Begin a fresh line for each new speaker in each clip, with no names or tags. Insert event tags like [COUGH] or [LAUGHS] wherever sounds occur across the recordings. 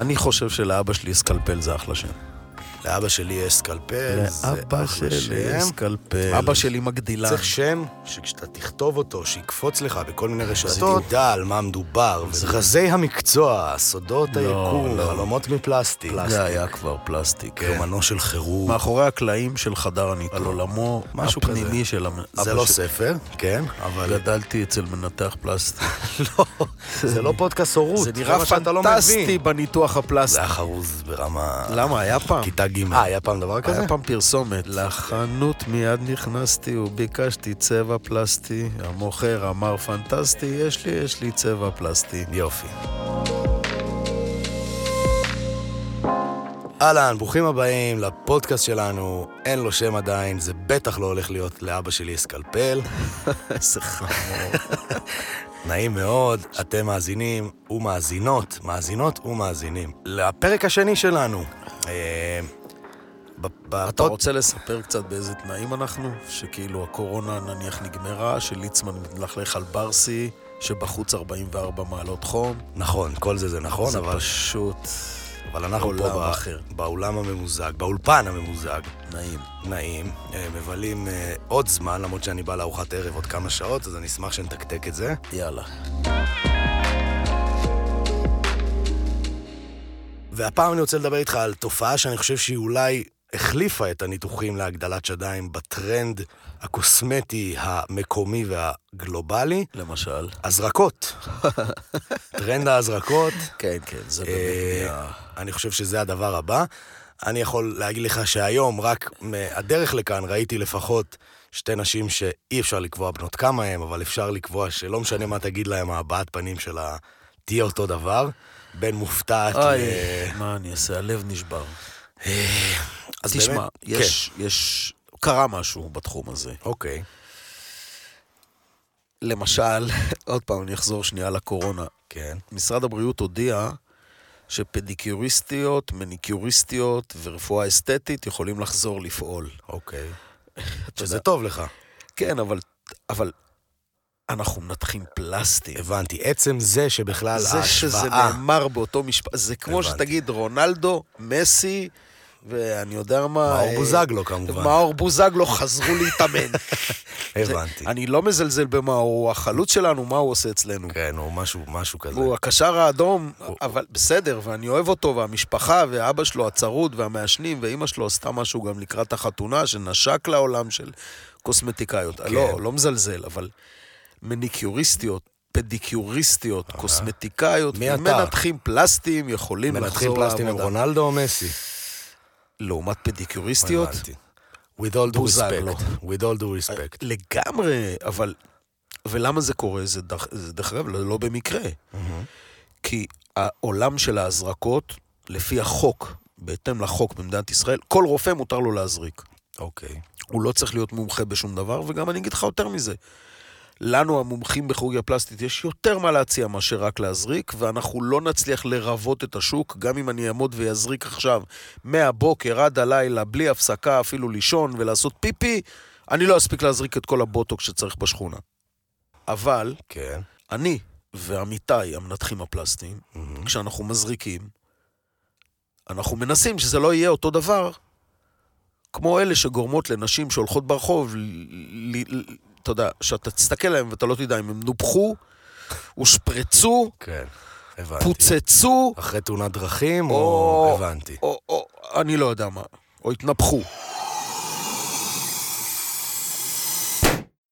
אני חושב שלאבא שלי אסקלפל זה אחלה שם.
לאבא שלי יש סקלפל, זה
לאבא
אחלה
שלי
שם.
אסקלפל. אבא שלי מגדילה.
צריך שם שכשאתה תכתוב אותו, שיקפוץ לך בכל מיני רשתות, תדע על מה מדובר. רזי המקצוע, סודות היקום,
לא.
חלומות מפלסטיק.
זה היה כבר פלסטיק. כן.
יומנו של חירום.
מאחורי הקלעים של חדר הניתוח. על עולמו
משהו
הפנימי של המ- אבא
זה לא
שלי.
ספר,
[LAUGHS]
כן, אבל...
גדלתי אצל מנתח פלסטי.
לא, זה לא פודקאסט הורות.
זה לא נראה פנטסטי בניתוח
זה
הפלסטי.
היה חרוז ברמה...
למה, היה פעם?
כיתה ג'. אה, היה פעם דבר כזה?
היה פעם פרסומת. לחנות מיד נכנסתי וביקשתי צבע פלסטי. המוכר אמר פנטסטי, יש לי, יש לי צבע פלסטי.
יופי. אהלן, ברוכים הבאים לפודקאסט שלנו, אין לו שם עדיין, זה בטח לא הולך להיות לאבא שלי אסקלפל.
איזה חמור.
נעים מאוד, אתם מאזינים ומאזינות, מאזינות ומאזינים. לפרק השני שלנו. אה, ב- ב-
אתה רוצה לספר קצת באיזה תנאים אנחנו? שכאילו הקורונה נניח נגמרה, שליצמן מתלכלך על ברסי, שבחוץ 44 מעלות חום.
נכון, כל זה זה נכון,
זה
אבל,
פשוט
אבל אנחנו פה
עולם
בא-
אחר.
באולם הממוזג, באולפן הממוזג,
נעים.
נעים, אה, מבלים אה, עוד זמן, למרות שאני בא לארוחת ערב עוד כמה שעות, אז אני אשמח שנתקתק את זה.
יאללה.
והפעם אני רוצה לדבר איתך על תופעה שאני חושב שהיא אולי החליפה את הניתוחים להגדלת שדיים בטרנד הקוסמטי, המקומי והגלובלי,
למשל.
הזרקות. [LAUGHS] טרנד ההזרקות.
כן, כן, זה
אה,
באמת... נהיה-
אני חושב שזה הדבר הבא. אני יכול להגיד לך שהיום, רק מהדרך לכאן, ראיתי לפחות שתי נשים שאי אפשר לקבוע בנות כמה הן, אבל אפשר לקבוע שלא משנה מה תגיד להם, הבעת פנים שלה תהיה אותו דבר. בין מופתעת אה,
אוי,
ל...
מה אני אעשה? הלב נשבר. אה,
אז
תשמע,
באמת-
יש, יש... קרה משהו בתחום הזה.
כן, אוקיי.
למשל, [LAUGHS] עוד פעם, אני אחזור שנייה לקורונה.
כן.
משרד הבריאות הודיע שפדיקיוריסטיות, מניקיוריסטיות ורפואה אסתטית יכולים לחזור לפעול.
אוקיי.
אתה
שזה
יודע-
טוב לך.
כן, אבל, אבל אנחנו מנתחים פלסטי.
הבנתי. עצם זה שבכלל
זה שזה
ההשוואה...
נאמר באותו משפט, זה כמו
הבנתי.
שתגיד רונלדו, מסי, ואני יודע מה...
מאור
אה,
בוזגלו כמובן.
מאור בוזגלו חזרו להתאמן.
[LAUGHS] הבנתי.
אני לא מזלזל במאור, הוא החלוץ שלנו, מה הוא עושה אצלנו?
כן, או משהו, משהו כזה.
הוא הקשר האדום, אבל בסדר, ואני אוהב אותו, והמשפחה, ואבא שלו הצרוד, והמעשנים, ואימא שלו עשתה משהו גם לקראת החתונה, שנשק לעולם של קוסמטיקאיות.
כן.
לא, לא מזלזל, אבל מניקיוריסטיות, פדיקיוריסטיות, קוסמטיקאיות,
מי אתה?
מנתחים פלסטיים יכולים
מנתחים
לחזור
פלסטים הם
לעבודה.
רונלדו או מסי?
לעומת פדיקיוריסטיות,
הבנתי. With all due
בוזגלו.
respect. With all due respect.
לגמרי, אבל... ולמה זה קורה? זה דרך, זה דרך אגב לא במקרה.
Mm-hmm.
כי העולם של ההזרקות, לפי החוק, בהתאם לחוק במדינת ישראל, כל רופא מותר לו להזריק.
אוקיי.
הוא לא צריך להיות מומחה בשום דבר, וגם אני אגיד לך יותר מזה. לנו, המומחים בכירורגיה פלסטית, יש יותר מה להציע מאשר רק להזריק, ואנחנו לא נצליח לרוות את השוק, גם אם אני אעמוד ויזריק עכשיו מהבוקר עד הלילה, בלי הפסקה אפילו לישון ולעשות פיפי, אני לא אספיק להזריק את כל הבוטוק שצריך בשכונה. אבל
כן.
אני ועמיתי, המנתחים הפלסטיים,
מהמם.
כשאנחנו מזריקים, אנחנו מנסים שזה לא יהיה אותו דבר כמו אלה שגורמות לנשים שהולכות ברחוב, ל- ל- ל- אתה יודע, שאתה תסתכל עליהם ואתה לא תדע אם הם נופחו, הושפרצו,
כן. הבנתי.
פוצצו,
אחרי תאונת דרכים,
או-
או... הבנתי.
או, או אני לא יודע מה, או התנפחו.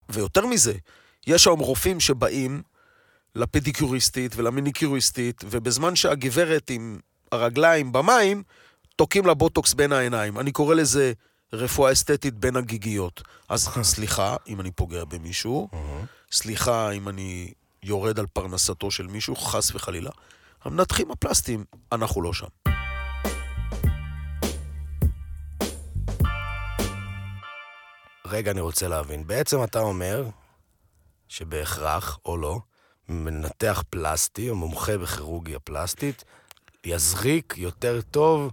ויותר מזה, יש היום רופאים שבאים לפדיקיוריסטית ולמיניקיוריסטית, ובזמן שהגברת עם הרגליים במים, תוקעים לה בוטוקס בין העיניים. אני קורא לזה רפואה אסתטית בין הגיגיות. אז סליחה אם אני פוגע במישהו, סליחה אם אני יורד על פרנסתו של מישהו, חס וחלילה. המנתחים הפלסטיים, אנחנו לא שם.
רגע, אני רוצה להבין. בעצם אתה אומר שבהכרח, או לא, מנתח פלסטי או מומחה בכירורגיה פלסטית יזריק יותר טוב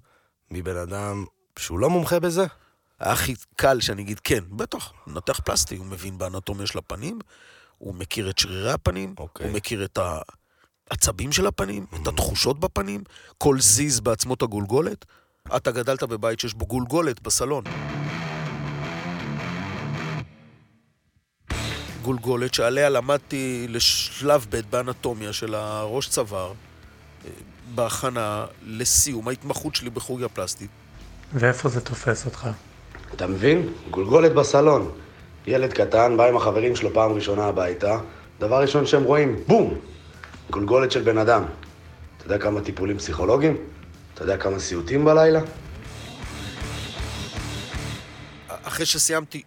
מבן אדם שהוא לא מומחה בזה?
הכי קל שאני אגיד כן, בטח, מנתח פלסטי, הוא מבין באנטומיה של הפנים, הוא מכיר את שרירי הפנים,
אוקיי.
הוא מכיר את העצבים של הפנים, את התחושות בפנים, כל זיז בעצמות הגולגולת. אתה גדלת בבית שיש בו גולגולת בסלון. גולגולת שעליה למדתי לשלב ב' באנטומיה של הראש צוואר, אה, בהכנה לסיום ההתמחות שלי בכורגיה פלסטית.
ואיפה זה תופס אותך?
אתה מבין? גולגולת בסלון. ילד קטן בא עם החברים שלו פעם ראשונה הביתה, דבר ראשון שהם רואים, בום! גולגולת של בן אדם. אתה יודע כמה טיפולים פסיכולוגיים? אתה יודע כמה סיוטים בלילה?
אחרי שסיימתי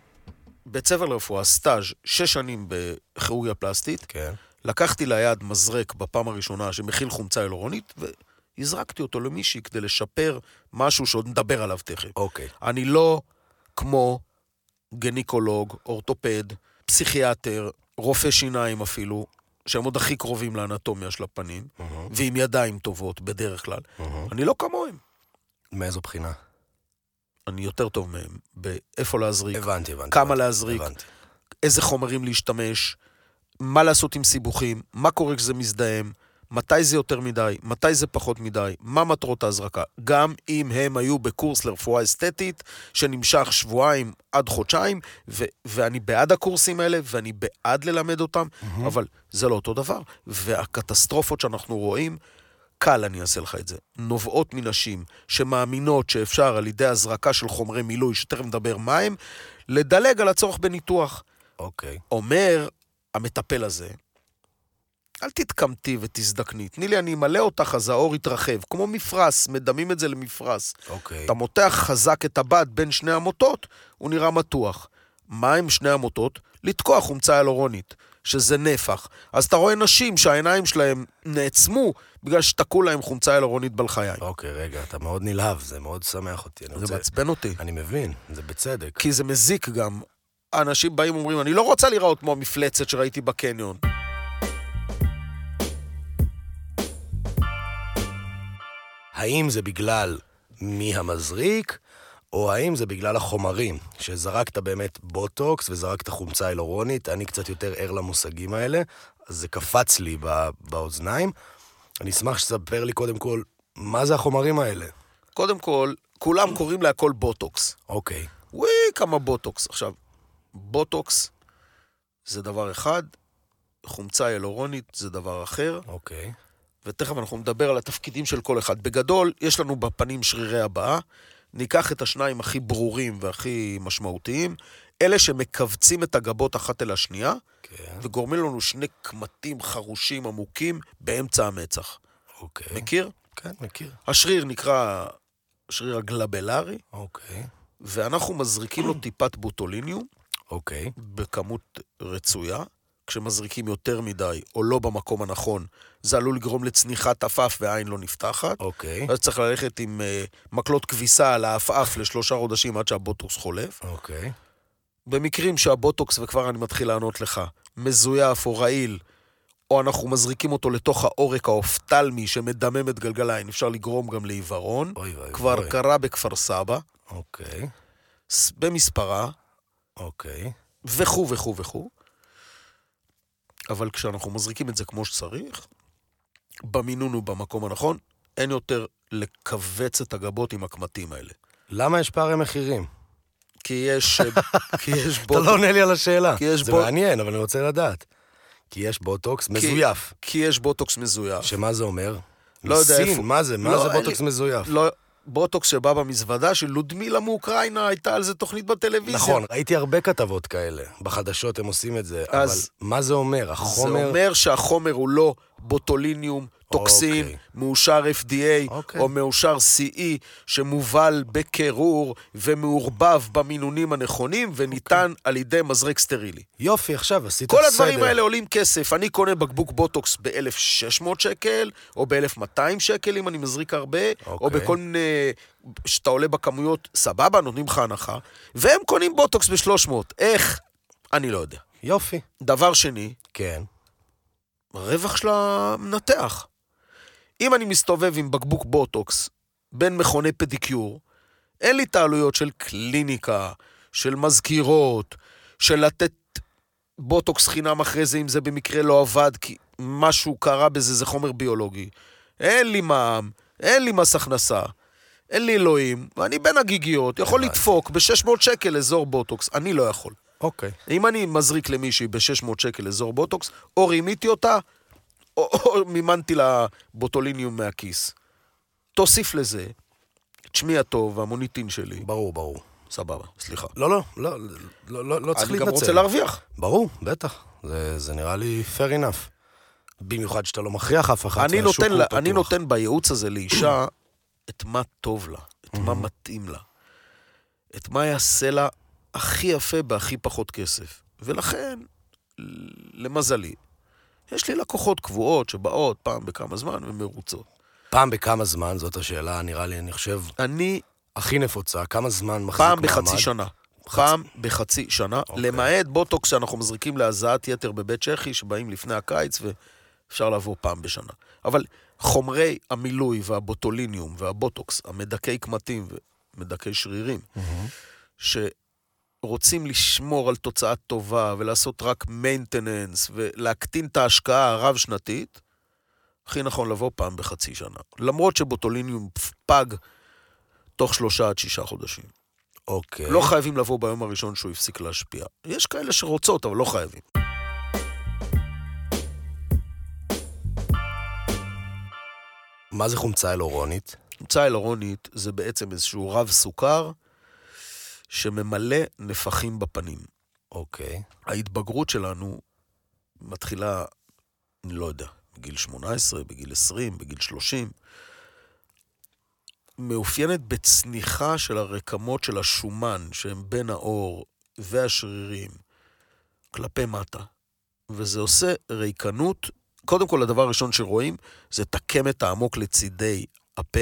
בית ספר לרפואה, סטאז', שש שנים בכירורגיה פלסטית,
כן.
לקחתי ליד מזרק בפעם הראשונה שמכיל חומצה הילורונית, והזרקתי אותו למישהי כדי לשפר משהו שעוד נדבר עליו תכף.
אוקיי.
אני לא כמו גניקולוג, אורתופד, פסיכיאטר, רופא שיניים אפילו, שהם עוד הכי קרובים לאנטומיה של הפנים, ועם ידיים טובות בדרך כלל. אני לא כמוהם.
מאיזו בחינה?
אני יותר טוב מהם, באיפה להזריק,
הבנתי, הבנתי.
כמה
הבנתי,
להזריק.
הבנתי.
איזה חומרים להשתמש, מה לעשות עם סיבוכים, מה קורה כשזה מזדהם, מתי זה יותר מדי, מתי זה פחות מדי, מה מטרות ההזרקה. גם אם הם היו בקורס לרפואה אסתטית, שנמשך שבועיים עד חודשיים, ו- ואני בעד הקורסים האלה, ואני בעד ללמד אותם, mm-hmm. אבל זה לא אותו דבר. והקטסטרופות שאנחנו רואים, קל אני אעשה לך את זה, נובעות מנשים שמאמינות שאפשר על ידי הזרקה של חומרי מילוי, שתכף נדבר מה הם, לדלג על הצורך בניתוח.
אוקיי.
אומר המטפל הזה, אל תתקמתי ותזדקני, תני לי, אני אמלא אותך, אז האור יתרחב. כמו מפרש, מדמים את זה למפרש.
אוקיי.
אתה מותח חזק את הבד בין שני המוטות, הוא נראה מתוח. מה עם שני המוטות? לתקוע חומצה הלורונית, שזה נפח. אז אתה רואה נשים שהעיניים שלהם נעצמו בגלל שתקעו להם חומצה הלורונית בלחיים.
אוקיי, רגע, אתה מאוד נלהב, זה מאוד שמח אותי. אני
זה
רוצה-
מעצבן אותי.
אני מבין, זה בצדק.
כי זה מזיק גם. אנשים באים ואומרים, אני לא רוצה להיראות כמו המפלצת שראיתי בקניון.
האם זה בגלל מי המזריק, או האם זה בגלל החומרים? שזרקת באמת בוטוקס וזרקת חומצה הילורונית, אני קצת יותר ער למושגים האלה, אז זה קפץ לי בא, באוזניים. אני אשמח שתספר לי קודם כל, מה זה החומרים האלה?
קודם כל, כולם קוראים להכל בוטוקס.
אוקיי,
וואי, כמה בוטוקס. עכשיו, בוטוקס זה דבר אחד, חומצה הילורונית זה דבר אחר,
אוקיי.
ותכף אנחנו נדבר על התפקידים של כל אחד. בגדול, יש לנו בפנים שרירי הבאה, ניקח את השניים הכי ברורים והכי משמעותיים, אלה שמכווצים את הגבות אחת אל השנייה,
כן,
וגורמים לנו שני קמטים חרושים עמוקים באמצע המצח.
אוקיי.
מכיר?
כן, מכיר.
השריר נקרא שריר הגלבלרי,
אוקיי,
ואנחנו מזריקים לו טיפת בוטוליניום
אוקיי.
בכמות רצויה. כשמזריקים יותר מדי או לא במקום הנכון, זה עלול לגרום לצניחת עפעף והעין לא נפתחת.
אוקיי.
אז צריך ללכת עם אה, מקלות כביסה על העפעף לשלושה חודשים עד שהבוטוקס חולף.
אוקיי.
במקרים שהבוטוקס, וכבר אני מתחיל לענות לך, מזויף או רעיל, או אנחנו מזריקים אותו לתוך העורק האופטלמי שמדמם את גלגליים, אפשר לגרום גם לעיוורון.
אוי ואי.
כבר
אוי.
קרה בכפר סבא,
אוקיי,
ס- במספרה,
אוקיי.
וכו' וכו' וכו'. אבל כשאנחנו מזריקים את זה כמו שצריך, במינון ובמקום הנכון, אין יותר לכווץ את הגבות עם הקמטים האלה.
למה יש פערי מחירים?
כי יש... אה,
[LAUGHS]
כי יש
אתה
בוט...
לא עונה לי על השאלה.
כי יש
זה
בו-
מעניין, אבל אני רוצה לדעת. כי יש בוטוקס מזויף.
כי יש בוטוקס מזויף.
שמה זה אומר?
לא יודע
מסין,
איפה-
מה זה? מה
לא,
זה
אין
בוטוקס
לי-
מזויף?
לא, בוטוקס שבא במזוודה של לודמילה מאוקראינה, הייתה על זה תוכנית בטלוויזיה.
נכון, ראיתי הרבה כתבות כאלה. בחדשות הם עושים את זה. אבל
אז-
מה זה אומר?
זה
החומר...
אומר שהחומר הוא לא בוטוליניום, טוקסין,
אוקיי.
מאושר FDA
אוקיי.
או מאושר CE, שמובל בקירור ומעורבב במינונים הנכונים, וניתן
אוקיי.
על ידי מזרק סטרילי.
יופי, עכשיו עשית סדר.
כל הדברים האלה עולים כסף. אני קונה בקבוק בוטוקס ב-1,600 שקל, או ב-1,200 שקל אם אני מזריק הרבה, או
אוקיי.
בכל מיני... שאתה עולה בכמויות, סבבה, נותנים לך הנחה, והם קונים בוטוקס ב-300. איך? אני לא יודע.
יופי.
דבר שני,
כן.
הרווח של המנתח. אם אני מסתובב עם בקבוק בוטוקס בין מכוני פדיקיור, אין לי את העלויות של קליניקה, של מזכירות, של לתת בוטוקס חינם אחרי זה, אם זה במקרה לא עבד, כי משהו קרה בזה, זה חומר ביולוגי. אין לי מע"מ, אין לי מס הכנסה, אין לי אלוהים, ואני בין הגיגיות, יכול
הבנתי.
לדפוק ב-600 שקל אזור בוטוקס, אני לא יכול.
אוקיי.
אם אני מזריק למישהי ב-600 שקל אזור בוטוקס, או רימיתי אותה, או, או מימנתי לה בוטוליניום מהכיס. תוסיף לזה את שמי הטוב והמוניטין שלי.
ברור, ברור.
סבבה, סליחה.
לא, לא, לא, לא, לא, לא צריך
אני
להתנצל.
גם רוצה להרוויח.
ברור, בטח. זה, זה נראה לי fair enough. במיוחד שאתה לא מכריח אף אחד.
אני
והשוק
נותן,
הוא
לה, אני
פתוח.
נותן בייעוץ הזה לאישה את מה טוב לה, את
Mm-hmm.
מה מתאים לה, את מה יעשה לה הכי יפה בהכי פחות כסף. ולכן, ל- למזלי, יש לי לקוחות קבועות שבאות פעם בכמה זמן ומרוצות.
פעם בכמה זמן, זאת השאלה, נראה לי, אני חושב,
אני
הכי נפוצה. כמה זמן מחזיק
פעם
מעמד?
בחצי שנה. פעם בחצי שנה,
אוקיי.
למעט בוטוקס שאנחנו מזריקים להזעת יתר בבית צ'כי, שבאים לפני הקיץ ואפשר לבוא פעם בשנה. אבל חומרי המילוי והבוטוליניום והבוטוקס, המדכאי קמטים ומדכאי שרירים, שרוצים לשמור על תוצאה טובה ולעשות רק מיינטננס ולהקטין את ההשקעה הרב-שנתית, הכי נכון לבוא פעם בחצי שנה. למרות שבוטוליניום פג תוך שלושה עד שישה חודשים.
אוקיי.
לא חייבים לבוא ביום הראשון שהוא הפסיק להשפיע. יש כאלה שרוצות, אבל לא חייבים.
מה זה חומצה אלורונית?
חומצה אלרונית זה בעצם איזשהו רב סוכר שממלא נפחים בפנים.
אוקיי.
ההתבגרות שלנו מתחילה, אני לא יודע, בגיל 18, בגיל 20, בגיל 30, מאופיינת בצניחה של הרקמות של השומן שהם בין העור והשרירים כלפי מטה, וזה עושה ריקנות. קודם כל, הדבר הראשון שרואים זה את הקמת העמוק לצידי הפה,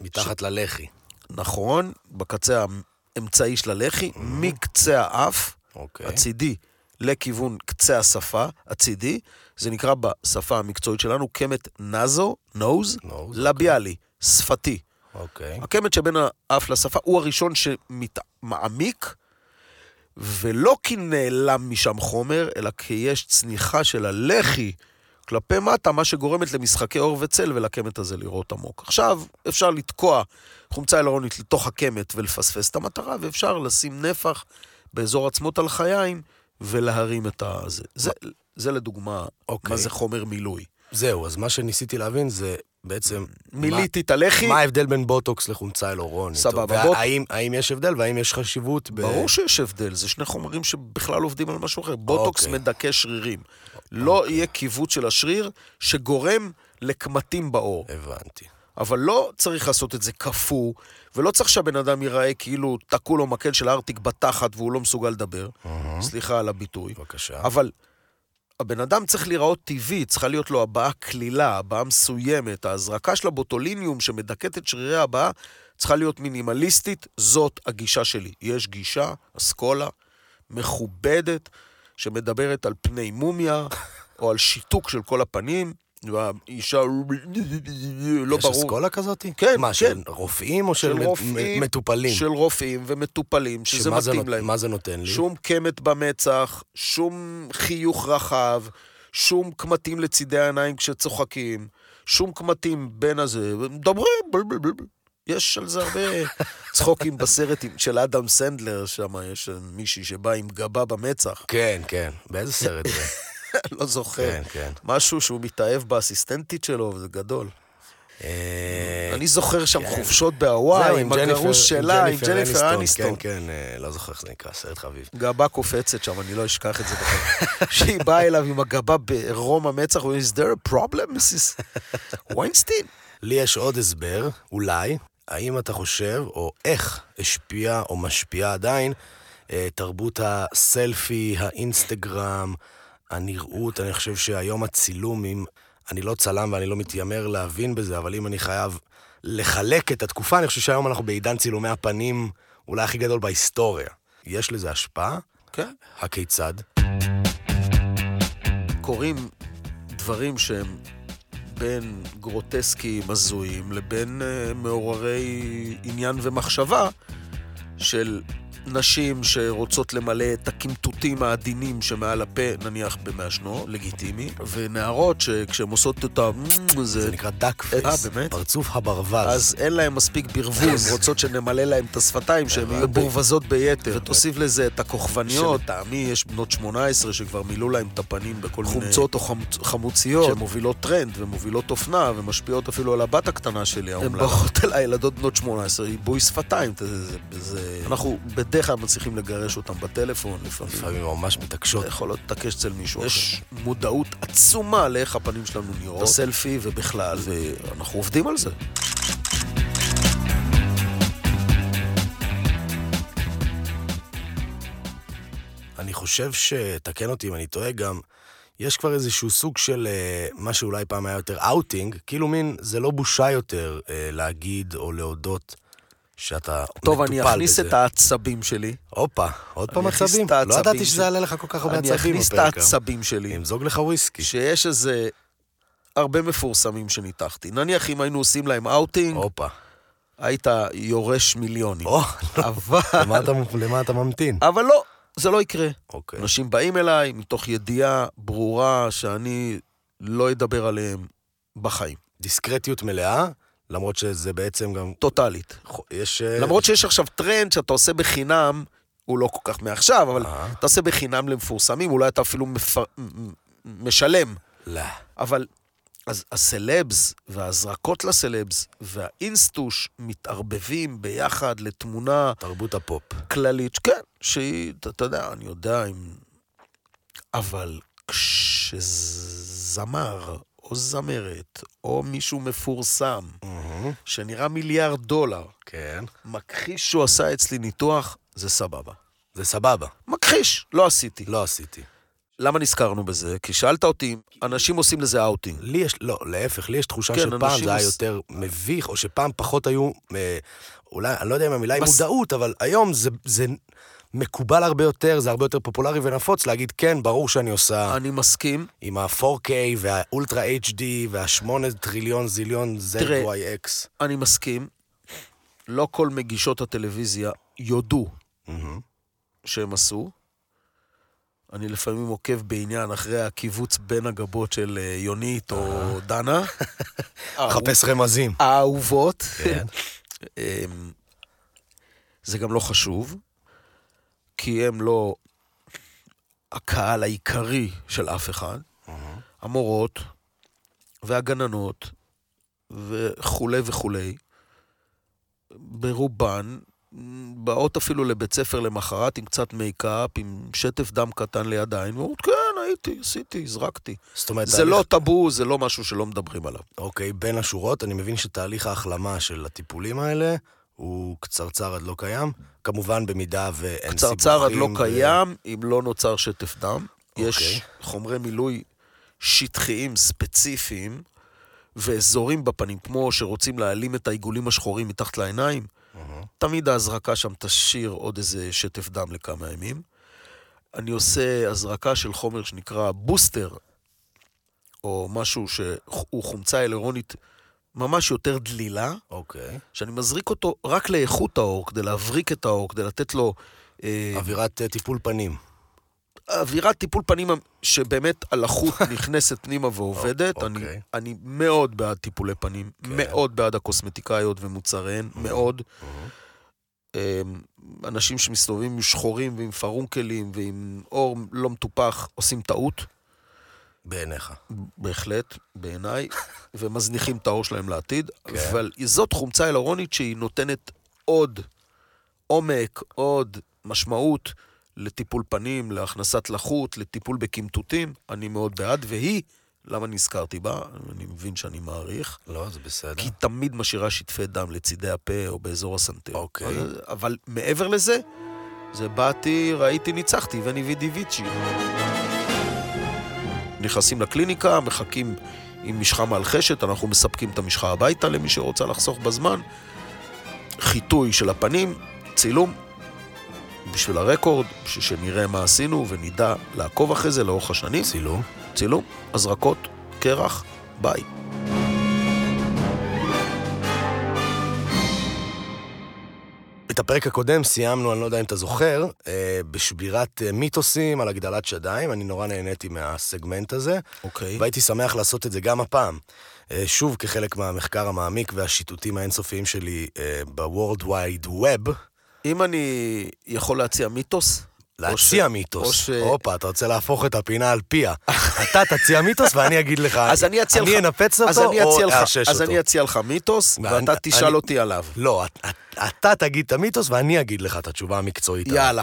מתחת ללחי.
נכון, בקצה האמצעי של הלחי, מקצה האף.
אוקיי.
הצידי לכיוון קצה השפה, הצידי, זה נקרא בשפה המקצועית שלנו קמת נזו, נוז,
נוז,
לביאלי, שפתי.
אוקיי.
הקמת שבין האף לשפה הוא הראשון שמעמיק, ולא כי נעלם משם חומר, אלא כי יש צניחה של הלחי כלפי מטה, מה שגורמת למשחקי עור וצל ולקמת הזה לראות עמוק. עכשיו, אפשר לתקוע חומצה אלרונית לתוך הקמת ולפספס את המטרה, ואפשר לשים נפח באזור עצמות על חיים ולהרים את הזה. זה, זה לדוגמה,
אוקיי.
מה זה חומר מילוי.
זהו, אז מה שניסיתי להבין זה בעצם...
מילאתי את הלחי,
מה ההבדל בין בוטוקס לחומצה אלורונית?
סבבה,
והאם-
בוט-
האם יש הבדל והאם יש חשיבות ב...
ברור שיש הבדל, זה שני חומרים שבכלל עובדים על משהו אחר. בוטוקס
אוקיי.
מדכא שרירים. לא יהיה כיווץ של השריר שגורם לקמטים בעור.
אה. הבנתי.
אבל לא צריך לעשות את זה קפוא, ולא צריך שהבן אדם ייראה כאילו תקעו לו מקל של ארטיק בתחת והוא לא מסוגל לדבר. סליחה על הביטוי.
בבקשה.
אבל הבן אדם צריך להיראות טבעי, צריכה להיות לו הבעה קלילה, הבעה מסוימת. ההזרקה של הבוטוליניום שמדכאת את שרירי הבעה צריכה להיות מינימליסטית, זאת הגישה שלי. יש גישה, אסכולה, מכובדת, שמדברת על פני מומיה, או על שיתוק של כל הפנים, והאישה... לא
יש
ברור.
אסכולה כזאת?
כן,
מה,
כן.
של רופאים או של
של
מט-
רופאים,
מ- מטופלים?
של רופאים ומטופלים, שזה
שמה זה
מתאים
נות-
להם.
מה זה נותן לי?
שום קמת במצח, שום חיוך רחב, שום קמטים לצידי העיניים כשצוחקים, שום קמטים בין הזה, מדברים, בל בל בל. בל. יש על זה הרבה צחוקים בסרט עם- של אדם סנדלר, שם יש מישהי שבאה עם גבה במצח, [LAUGHS]
כן, כן. באיזה סרט זה?
לא זוכר.
כן, כן.
משהו שהוא מתאהב באסיסטנטית שלו, זה גדול.
אה,
אני זוכר שם חופשות
זהו,
בהוואי, כן. עם
ג'ניפר-
הגרוש שלה, עם ג'ניפר אניסטון.
כן, כן, אה, לא זוכר איך זה נקרא, סרט חביב.
גבה קופצת שם, אני לא אשכח את זה בחיים. שהיא באה אליו עם הגבה ברום המצח, הוא אומר, is there a problem, Mrs. ויינסטין?
לי יש עוד הסבר, אולי, האם אתה חושב, או איך השפיעה או משפיעה עדיין, אה, תרבות הסלפי, האינסטגרם, הנראות, אני חושב שהיום הצילום, אם... אני לא צלם ואני לא מתיימר להבין בזה, אבל אם אני חייב לחלק את התקופה, אני חושב שהיום אנחנו בעידן צילומי הפנים אולי הכי גדול בהיסטוריה. יש לזה השפעה?
כן.
הכיצד?
קורים דברים שהם בין גרוטסקיים הזויים לבין אה, מעוררי עניין ומחשבה של נשים שרוצות למלא את הקמטוטים העדינים שמעל הפה, נניח במעשנו, לגיטימי, ונערות שכשהן עושות את ה...
זה
זה...
נקרא דאק פייס.
אה, באמת?
פרצוף הברווז.
אז אין להם מספיק ברווז, רוצות שנמלא להם את השפתיים, שהן יהיו בורווזות ביתר. ותוסיף לזה את הכוכבניות, טעמי יש בנות 18 שכבר מילאו להם את הפנים בכל מיני... חומצות או חמ- חמוציות, שמובילות טרנד ומובילות אופנה ומשפיעות אפילו על הבת הקטנה שלי, האומללה. הן באות אליי, ילדות בנות 18, עיבוי שפתיים. אתה- זה- זה- אנחנו בדרך כלל מצליחים לגרש אותם בטלפון לפעמים.
לפעמים ממש מתעקשות.
יכולות להתעקש אצל מישהו. יש מודעות עצומה לאיך הפנים שלנו נראות, הסלפי ובכלל, ואנחנו עובדים על זה.
אני חושב ש... תקן אותי אם אני טועה גם, יש כבר איזשהו סוג של אה, מה שאולי פעם היה יותר אאוטינג, כאילו מין, זה לא בושה יותר אה, להגיד או להודות שאתה מטופל
טוב,
בזה.
אני אכניס את העצבים שלי.
הופה, עוד פעם
אני אכניס
עצבים?
את
לא
העצבים
ידעתי
שלי.
שזה יעלה לך כל כך הרבה
אני
עצבים
אכניס את
בפרק אה?
העצבים
היום.
שלי.
אמזוג לך
[LAUGHS]
וויסקי.
שיש איזה הרבה מפורסמים שניתחתי. נניח אם היינו עושים להם אאוטינג,
הופה.
היית יורש מיליונים.
או, [LAUGHS] למה
אבל...
אתה- למה אתה ממתין?
אבל לא, זה לא יקרה. [LAUGHS]
אוקיי.
אנשים באים אליי מתוך ידיעה ברורה שאני לא אדבר עליהם בחיים.
דיסקרטיות מלאה, למרות שזה בעצם גם...
טוטאלית.
יש... אה,
למרות שיש עכשיו טרנד שאתה עושה בחינם, הוא לא כל כך מעכשיו, אבל
אה.
אתה עושה בחינם למפורסמים, אולי אתה אפילו מפר... מ- מ- משלם.
לא.
אבל אז הסלבס וההזרקות לסלבס והאינסטוש מתערבבים ביחד לתמונה
תרבות הפופ.
כללית, כן, שהיא, אתה- אתה יודע, אני יודע אם... אבל כשזמר או זמרת או מישהו מפורסם שנראה מיליארד דולר,
כן.
מכחיש שהוא עשה אצלי ניתוח, זה סבבה.
זה סבבה,
מכחיש, לא עשיתי.
לא עשיתי.
למה נזכרנו בזה? כי שאלת אותי, אנשים עושים לזה אאוטינג.
לי יש, לא, להפך, לי יש תחושה
כן,
שפעם
אנשים
זה היה
עוש-
יותר מביך, או שפעם פחות היו, אה, אולי, אני לא יודע אם המילה היא
בס-
מודעות, אבל היום זה, זה מקובל הרבה יותר, זה הרבה יותר פופולרי ונפוץ להגיד, כן, ברור שאני עושה
אני מסכים,
עם ה-4K וה-Ultra HD וה-8 טריליון זיליון
תראה.
ZYX.
אני מסכים. לא כל מגישות הטלוויזיה יודו
מהמם.
שהם עשו. אני לפעמים עוקב בעניין אחרי הקיבוץ בין הגבות של אה, יונית או דנה.
חפש רמזים.
האהובות.
כן.
[LAUGHS] אמ, זה גם לא חשוב, כי הם לא הקהל העיקרי של אף אחד. המורות והגננות וכולי וכולי, ברובן באות אפילו לבית ספר למחרת עם קצת מייקאפ, עם שטף דם קטן לידיים, ואומרות, כן, הייתי, עשיתי, הזרקתי.
זאת אומרת,
זה
תהליך-
לא טאבו, זה לא משהו שלא מדברים עליו.
אוקיי, בין השורות, אני מבין שתהליך ההחלמה של הטיפולים האלה הוא קצרצר עד לא קיים. כמובן, במידה ואין סיבוכים.
קצרצר עד לא
ו-
קיים, אם לא נוצר שטף דם.
אוקיי.
יש חומרי מילוי שטחיים ספציפיים ואזורים בפנים, כמו שרוצים להעלים את העיגולים השחורים מתחת לעיניים. תמיד ההזרקה שם תשאיר עוד איזה שטף דם לכמה ימים. אני עושה הזרקה של חומר שנקרא בוסטר, או משהו שהוא חומצה אלרונית ממש יותר דלילה,
אוקיי.
שאני מזריק אותו רק לאיכות האור, כדי להבריק את האור, כדי לתת לו אה,
אווירת אה, טיפול פנים.
אווירת טיפול פנים שבאמת הלחות נכנסת פנימה ועובדת. אני,
אוקיי.
אני מאוד בעד טיפולי פנים, מאוד בעד הקוסמטיקאיות ומוצריהן, מאוד. אמ, אנשים שמסתובבים עם שחורים ועם פרונקלים ועם עור לא מטופח עושים טעות,
בעיניך.
בהחלט, בעיניי, ומזניחים את העור שלהם לעתיד,
כן.
אבל זאת חומצה אלרונית שהיא נותנת עוד עומק, עוד משמעות לטיפול פנים, להכנסת לחות, לטיפול בקמטוטים, אני מאוד בעד, והיא, למה נזכרתי בה? אני מבין שאני מעריך.
לא, זה בסדר.
כי היא תמיד משאירה שטפי דם לצידי הפה או באזור הסנטר.
אוקיי.
אבל- אבל מעבר לזה, זה באתי, ראיתי, ניצחתי, וניבידי ויצ'י. נכנסים לקליניקה, מחכים עם משחה מאלחשת, אנחנו מספקים את המשחה הביתה למי שרוצה לחסוך בזמן. חיטוי של הפנים, צילום, בשביל הרקורד, בשביל שנראה מה עשינו ונדע לעקוב אחרי זה לאורך השנים.
צילום.
צילום, הזרקות, קרח, ביי.
את הפרק הקודם סיימנו, אני לא יודע אם אתה זוכר, אה, בשבירת אה, מיתוסים על הגדלת שדיים. אני נורא נהניתי מהסגמנט הזה,
אוקיי.
והייתי שמח לעשות את זה גם הפעם. אה, שוב, כחלק מהמחקר המעמיק והשיטוטים האינסופיים שלי אה, ב-World Wide Web,
אם אני יכול להציע מיתוס,
להציע
או ש- או
מיתוס.
ש-
הופה, אתה רוצה להפוך את הפינה על פיה. אתה תציע מיתוס ואני אגיד לך,
אז אני אציע לך...
אני אנפץ
אז
אותו
אני אציע
לא, או
לך-
אאשש
אז
אותו.
אני אציע לך מיתוס,
ואני-
ואתה תשאל
אני-
אותי עליו.
לא, את- את- אתה תגיד את המיתוס ואני אגיד לך את התשובה המקצועית. עליו.
יאללה.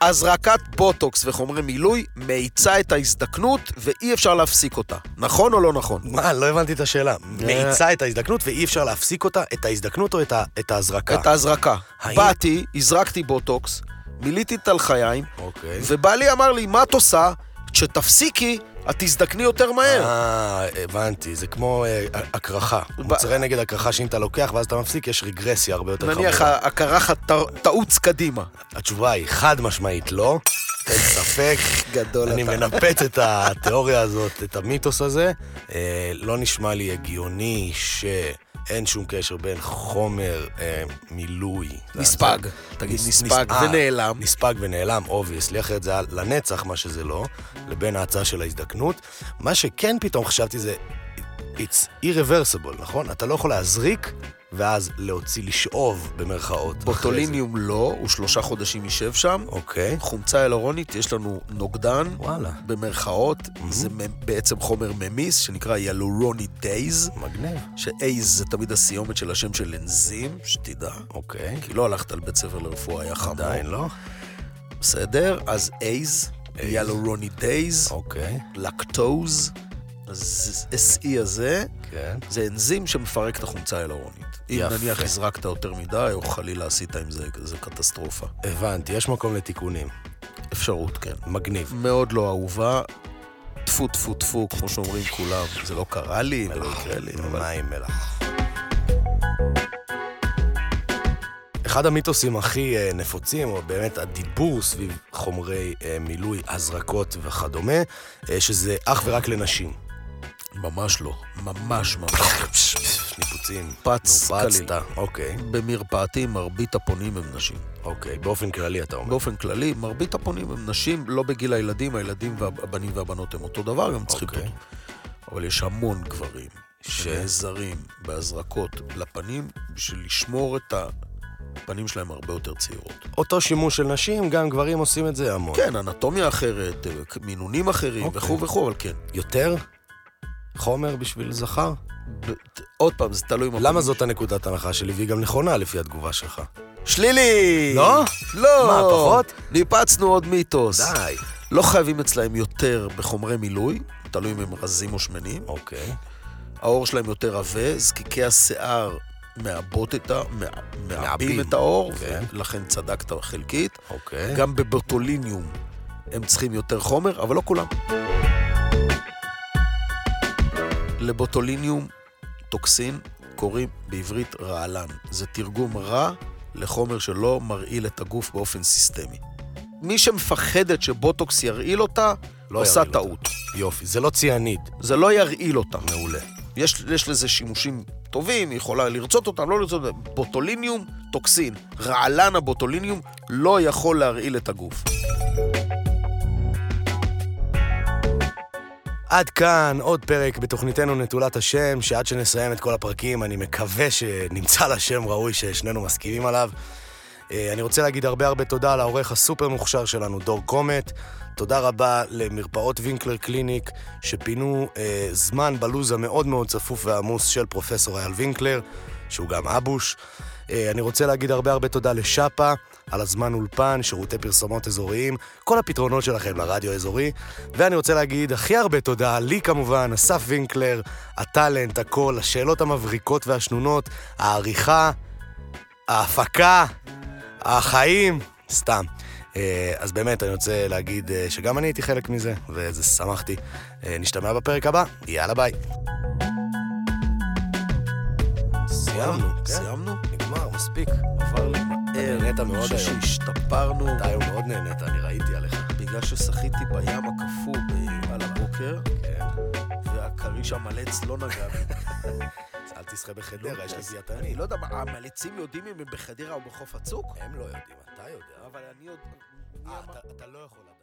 הזרקת בוטוקס וחומרי מילוי מאיצה את ההזדקנות ואי אפשר להפסיק אותה. נכון או לא נכון?
מה, לא הבנתי את השאלה. מאיצה את ההזדקנות ואי אפשר להפסיק אותה, את ההזדקנות או את ה- את ההזרקה?
את ההזרקה.
האם-
באתי, הזרקתי בוטוקס, מילאתי את הלחיים,
אוקיי.
ובעלי אמר לי, מה את עושה? כשתפסיקי, את תזדקני יותר מהר.
אה, הבנתי, זה כמו אה, הקרחה. מוצרי נגד הקרחה שאם אתה לוקח ואז אתה מפסיק, יש רגרסיה הרבה יותר חמורה.
נניח הקרחת ת- תעוץ קדימה.
התשובה היא חד משמעית לא, אין ספק.
גדול
אני מנפץ את התיאוריה הזאת, את המיתוס הזה. אה, לא נשמע לי הגיוני שאין שום קשר בין חומר אה, מילוי.
נספג.
זה-
תגיד,
נס-
נספג
אה,
ונעלם.
נספג ונעלם, אובייסלי, אחרת זה היה לנצח מה שזה לא, לבין ההצעה של ההזדקנות. מה שכן פתאום חשבתי זה, it's irreversible, נכון? אתה לא יכול להזריק ואז להוציא, לשאוב במרכאות. אחרי זה.
בוטוליניום לא, הוא שלושה חודשים יישב שם.
אוקיי.
חומצה הלורונית, יש לנו נוגדן,
וואלה.
במרכאות, זה מ- בעצם חומר ממיס, שנקרא ילורוני דייז,
מגניב.
שאייז זה תמיד הסיומת של השם של אנזים, שתדע.
אוקיי.
כי לא הלכת לבית ספר לרפואה, היה חמור.
עדיין לא?
בסדר, אז אייז, ילורוני דייז,
אוקיי.
לקטוז, אז SE E הזה,
כן.
זה אנזים שמפרק את החומצה הילורונית. אם
יפה.
נניח הזרקת יותר מדי, או חלילה עשית עם זה, זה קטסטרופה.
הבנתי, יש מקום לתיקונים.
אפשרות, כן.
מגניב.
מאוד לא אהובה. טפו טפו טפו, כמו שאומרים כולם. זה לא קרה לי, זה לא יקרה לי, אבל...
מים מלח. אחד המיתוסים הכי אה, נפוצים, או באמת הדיבור סביב חומרי אה, מילוי, הזרקות וכדומה, אה, שזה אך ורק לנשים.
ממש לא. ממש ממש.
ניפוצים.
פץ
נופצת.
קליל.
אוקיי,
במרפאתי מרבית הפונים הם נשים.
אוקיי. באופן כללי אתה אומר.
באופן כללי, מרבית הפונים הם נשים, לא בגיל הילדים, הילדים והבנים והבנות הם אותו דבר, הם צריכים
אוקיי.
אותו. אבל יש המון גברים
ש-
שנעזרים בהזרקות לפנים בשביל לשמור את הפנים שלהם הרבה יותר צעירות.
אותו שימוש של נשים, גם גברים עושים את זה המון.
כן, אנטומיה אחרת, מינונים אחרים
אוקיי.
וכו' וכו', אבל כן.
יותר חומר בשביל זכר?
ב- ת- עוד פעם, זה תלוי מה...
למה זאת הנקודת הנחה שלי, והיא גם נכונה לפי התגובה שלך?
שלילי!
לא?
לא!
מה, פחות?
ניפצנו עוד מיתוס.
די.
לא חייבים אצלהם יותר בחומרי מילוי, תלוי אם הם רזים או שמנים.
אוקיי.
העור שלהם יותר עבה, זקיקי השיער מעבות את ה... מע- מעבים
מעבים.
את העור,
כן.
ולכן צדקת חלקית.
אוקיי.
גם בבוטוליניום הם צריכים יותר חומר, אבל לא כולם. לבוטוליניום טוקסין קוראים בעברית רעלן. זה תרגום רע לחומר שלא מרעיל את הגוף באופן סיסטמי. מי שמפחדת שבוטוקס ירעיל אותה,
לא
עושה
ירעיל
טעות.
יופי, זה לא ציאנית.
זה לא ירעיל אותה.
מעולה.
יש, יש לזה שימושים טובים, היא יכולה לרצות אותם, לא לרצות אותם. בוטוליניום, טוקסין. רעלן הבוטוליניום לא יכול להרעיל את הגוף.
עד כאן עוד פרק בתוכניתנו נטולת השם, שעד שנסיים את כל הפרקים, אני מקווה שנמצא לה שם ראוי ששנינו מסכימים עליו. אה, אני רוצה להגיד הרבה הרבה תודה לעורך הסופר מוכשר שלנו, דור קומט. תודה רבה למרפאות וינקלר קליניק, שפינו אה, זמן בלוז המאוד מאוד צפוף ועמוס של פרופסור אייל וינקלר, שהוא גם אבוש. אה, אני רוצה להגיד הרבה הרבה תודה לשאפה, על הזמן אולפן, שירותי פרסומות אזוריים, כל הפתרונות שלכם לרדיו האזורי. ואני רוצה להגיד הכי הרבה תודה לי כמובן, אסף וינקלר, הטאלנט, הכל, השאלות המבריקות והשנונות, העריכה, ההפקה, החיים, סתם. אה, אז באמת, אני רוצה להגיד אה, שגם אני הייתי חלק מזה, וזה שמחתי. אה, נשתמע בפרק הבא, יאללה ביי. סיימנו, כן?
סיימנו?
נגמר, מספיק.
עבר לי
אתה
מהר.
נהנית מאוד
אני חושב
היום.
שהשתפרנו
אתה היום מאוד נהנית, אני ראיתי עליך.
בגלל ששחיתי בים הקפוא ב- על הבוקר,
כן.
והכריש המלץ לא נגע בי.
[LAUGHS] אל תשחה בחדרה, יש לי
אז-
דיאטנית.
אני לא יודע, מה, המליצים יודעים אם הם בחדרה או בחוף הצוק?
הם לא יודעים, אתה יודע.
אבל אני עוד... מי
אה,
אמר-
אתה- אתה לא יכול לדעת.